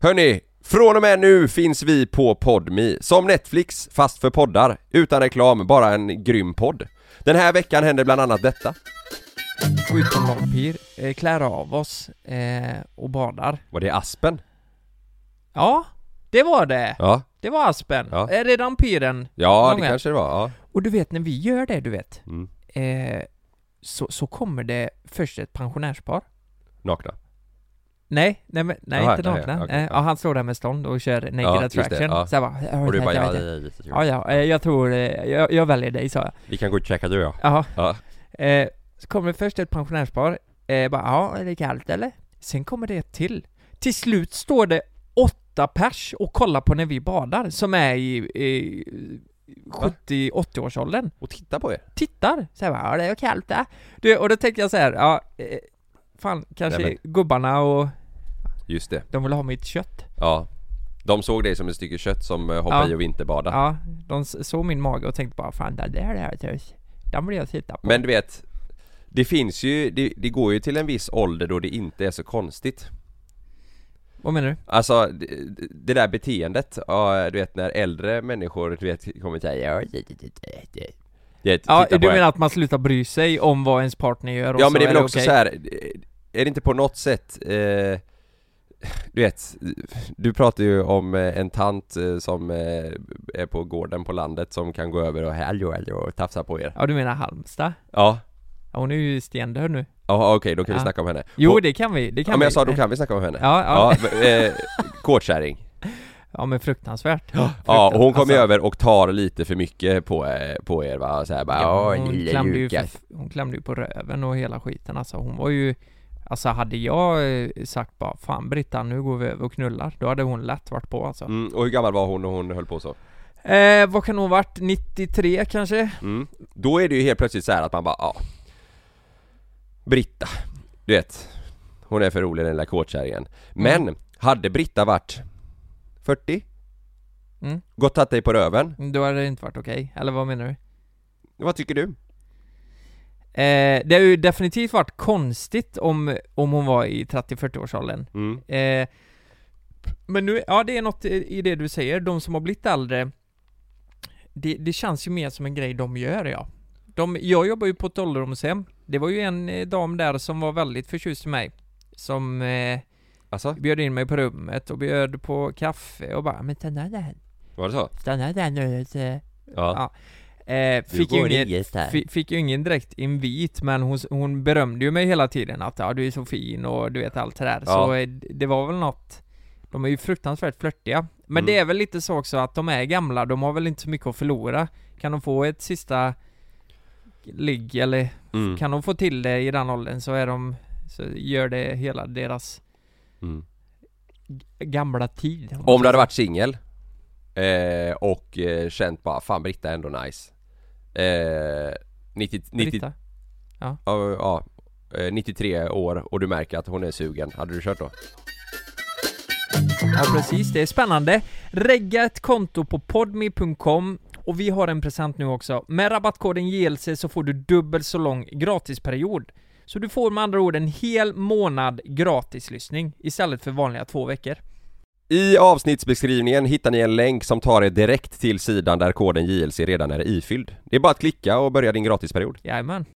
Hörni, från och med nu finns vi på Podmi Som Netflix, fast för poddar. Utan reklam, bara en grym podd. Den här veckan händer bland annat detta. Gå ut som vampyr, eh, klär av oss eh, och badar. Var det Aspen? Ja, det var det. Ja. Det var aspen. Ja. Är det vampyren? Ja, det Många. kanske det var. Ja. Och du vet när vi gör det, du vet. Mm. Eh, så, så kommer det först ett pensionärspar. Nakna. Nej, nej, men, nej Jaha, inte nej, nakna. ja, okej, eh, ja. ja. han står där med stånd och kör naked Ja, just det, attraction. ja. Så jag bara, Och du bara, ja, ja, det ja, är jättekul. ja, ja, eh, jag tror, eh, jag, jag väljer dig sa jag. Vi kan gå och checka du och jag. Jaha. Ja. Eh, så kommer först ett pensionärspar, eh, bara, ja, är det kallt eller? Sen kommer det ett till. Till slut står det åtta pers och kollar på när vi badar, som är i, i Va? 70-80-årsåldern. Och titta på er. Tittar, säger bara, ja, det är kallt det. Du, och då tänker jag så här, ja, eh, fan, kanske Nej, gubbarna och Just det. de vill ha mitt kött. Ja. De såg dig som ett stycke kött som eh, hoppar Ja. i och vinterbada. Ja, de s- såg min mage och tänkte bara, fan, det där är tös. Den vill jag titta på. Men du vet, det finns ju, det, det går ju till en viss ålder då det inte är så konstigt. Vad menar du? Alltså det, det där beteendet, ja, du vet när äldre människor du vet, kommer till ja, du vet, Ja, titta du på en. menar att man slutar bry sig om vad ens partner gör och Ja så men det är väl är också okej? så här. eh, är det inte på något sätt eh, du vet, du pratar ju om eh, en tant eh, som eh, är på gården på landet som kan gå över och hallå hallå och tafsa på er. Ja du menar Halmstad? Ja, Ja, hon är ju stendöd nu. ja okej då kan vi Ja. snacka om henne. Jo På- det kan vi, det kan ja, vi. men jag sa då kan vi snacka om henne. Ja, ja. Ja, men, eh, kåtkärring. ja men fruktansvärt. Ja, och hon Fruktansvärt. Alltså, kommer ju över och tar lite för mycket på, eh, på er va, så här bara Ja, "Åh, hon, lille klämde ju Lukas." för- hon klämde ju på röven och hela skiten alltså. Hon var ju Alltså hade jag eh, sagt bara Fan Brittan, nu går vi över och knullar Då hade hon lätt varit på alltså Mm, och hur gammal var hon när hon höll på så? eh, Vad kan hon varit? 93 kanske? Mm. Då är det ju helt plötsligt så här att man bara, ja Britta, du vet Hon är för rolig den lilla kåtkärringen Men, hade Britta varit 40? Mm. Gått tagit dig på röven? Då hade det inte varit okej, eller vad menar du? Vad tycker du? Eh, det har ju definitivt varit konstigt om, om hon var i 30-40-årsåldern Mm. Eh, men nu, ja det är något i i det du säger, de som har blivit äldre det, det känns ju mer som en grej de gör ja. De, jag jobbar ju på ett ålderdomshem. Det var ju en eh, dam där som var väldigt förtjust i mig. Som eh, Alltså, bjöd in mig på rummet och bjöd på kaffe och bara 'Men stanna där, var det så? stanna där nu' lite." Ja, eh, Du fick, ju går ingen, inget här. fi- fick ju ingen direkt invit men hon, s- hon berömde ju mig hela tiden att 'Ja du är så fin' och du vet allt det där. Så Ja. eh, d- det var väl något De är ju fruktansvärt flörtiga. Men Mm. det är väl lite så också att de är gamla, de har väl inte så mycket att förlora. Kan de få ett sista ligg eller Mm. kan de få till det i den åldern så är de så gör det hela deras Mm. g- gamla tid. Om du hade varit singel eh, och eh, känt bara fan Britta är ändå nice eh, 90, 90, Britta. ja, ja, eh, 93 år och du märker att hon är sugen, hade du kört då? Ja precis, det är spännande. Regga ett konto på podme.com och vi har en present nu också. Med rabattkoden JLC så får du dubbelt så lång gratisperiod. Så du får med andra ord en hel månad gratislyssning istället för vanliga två veckor. I avsnittsbeskrivningen hittar ni en länk som tar er direkt till sidan där koden JLC redan är ifylld. Det är bara att klicka och börja din gratisperiod. Jajamän.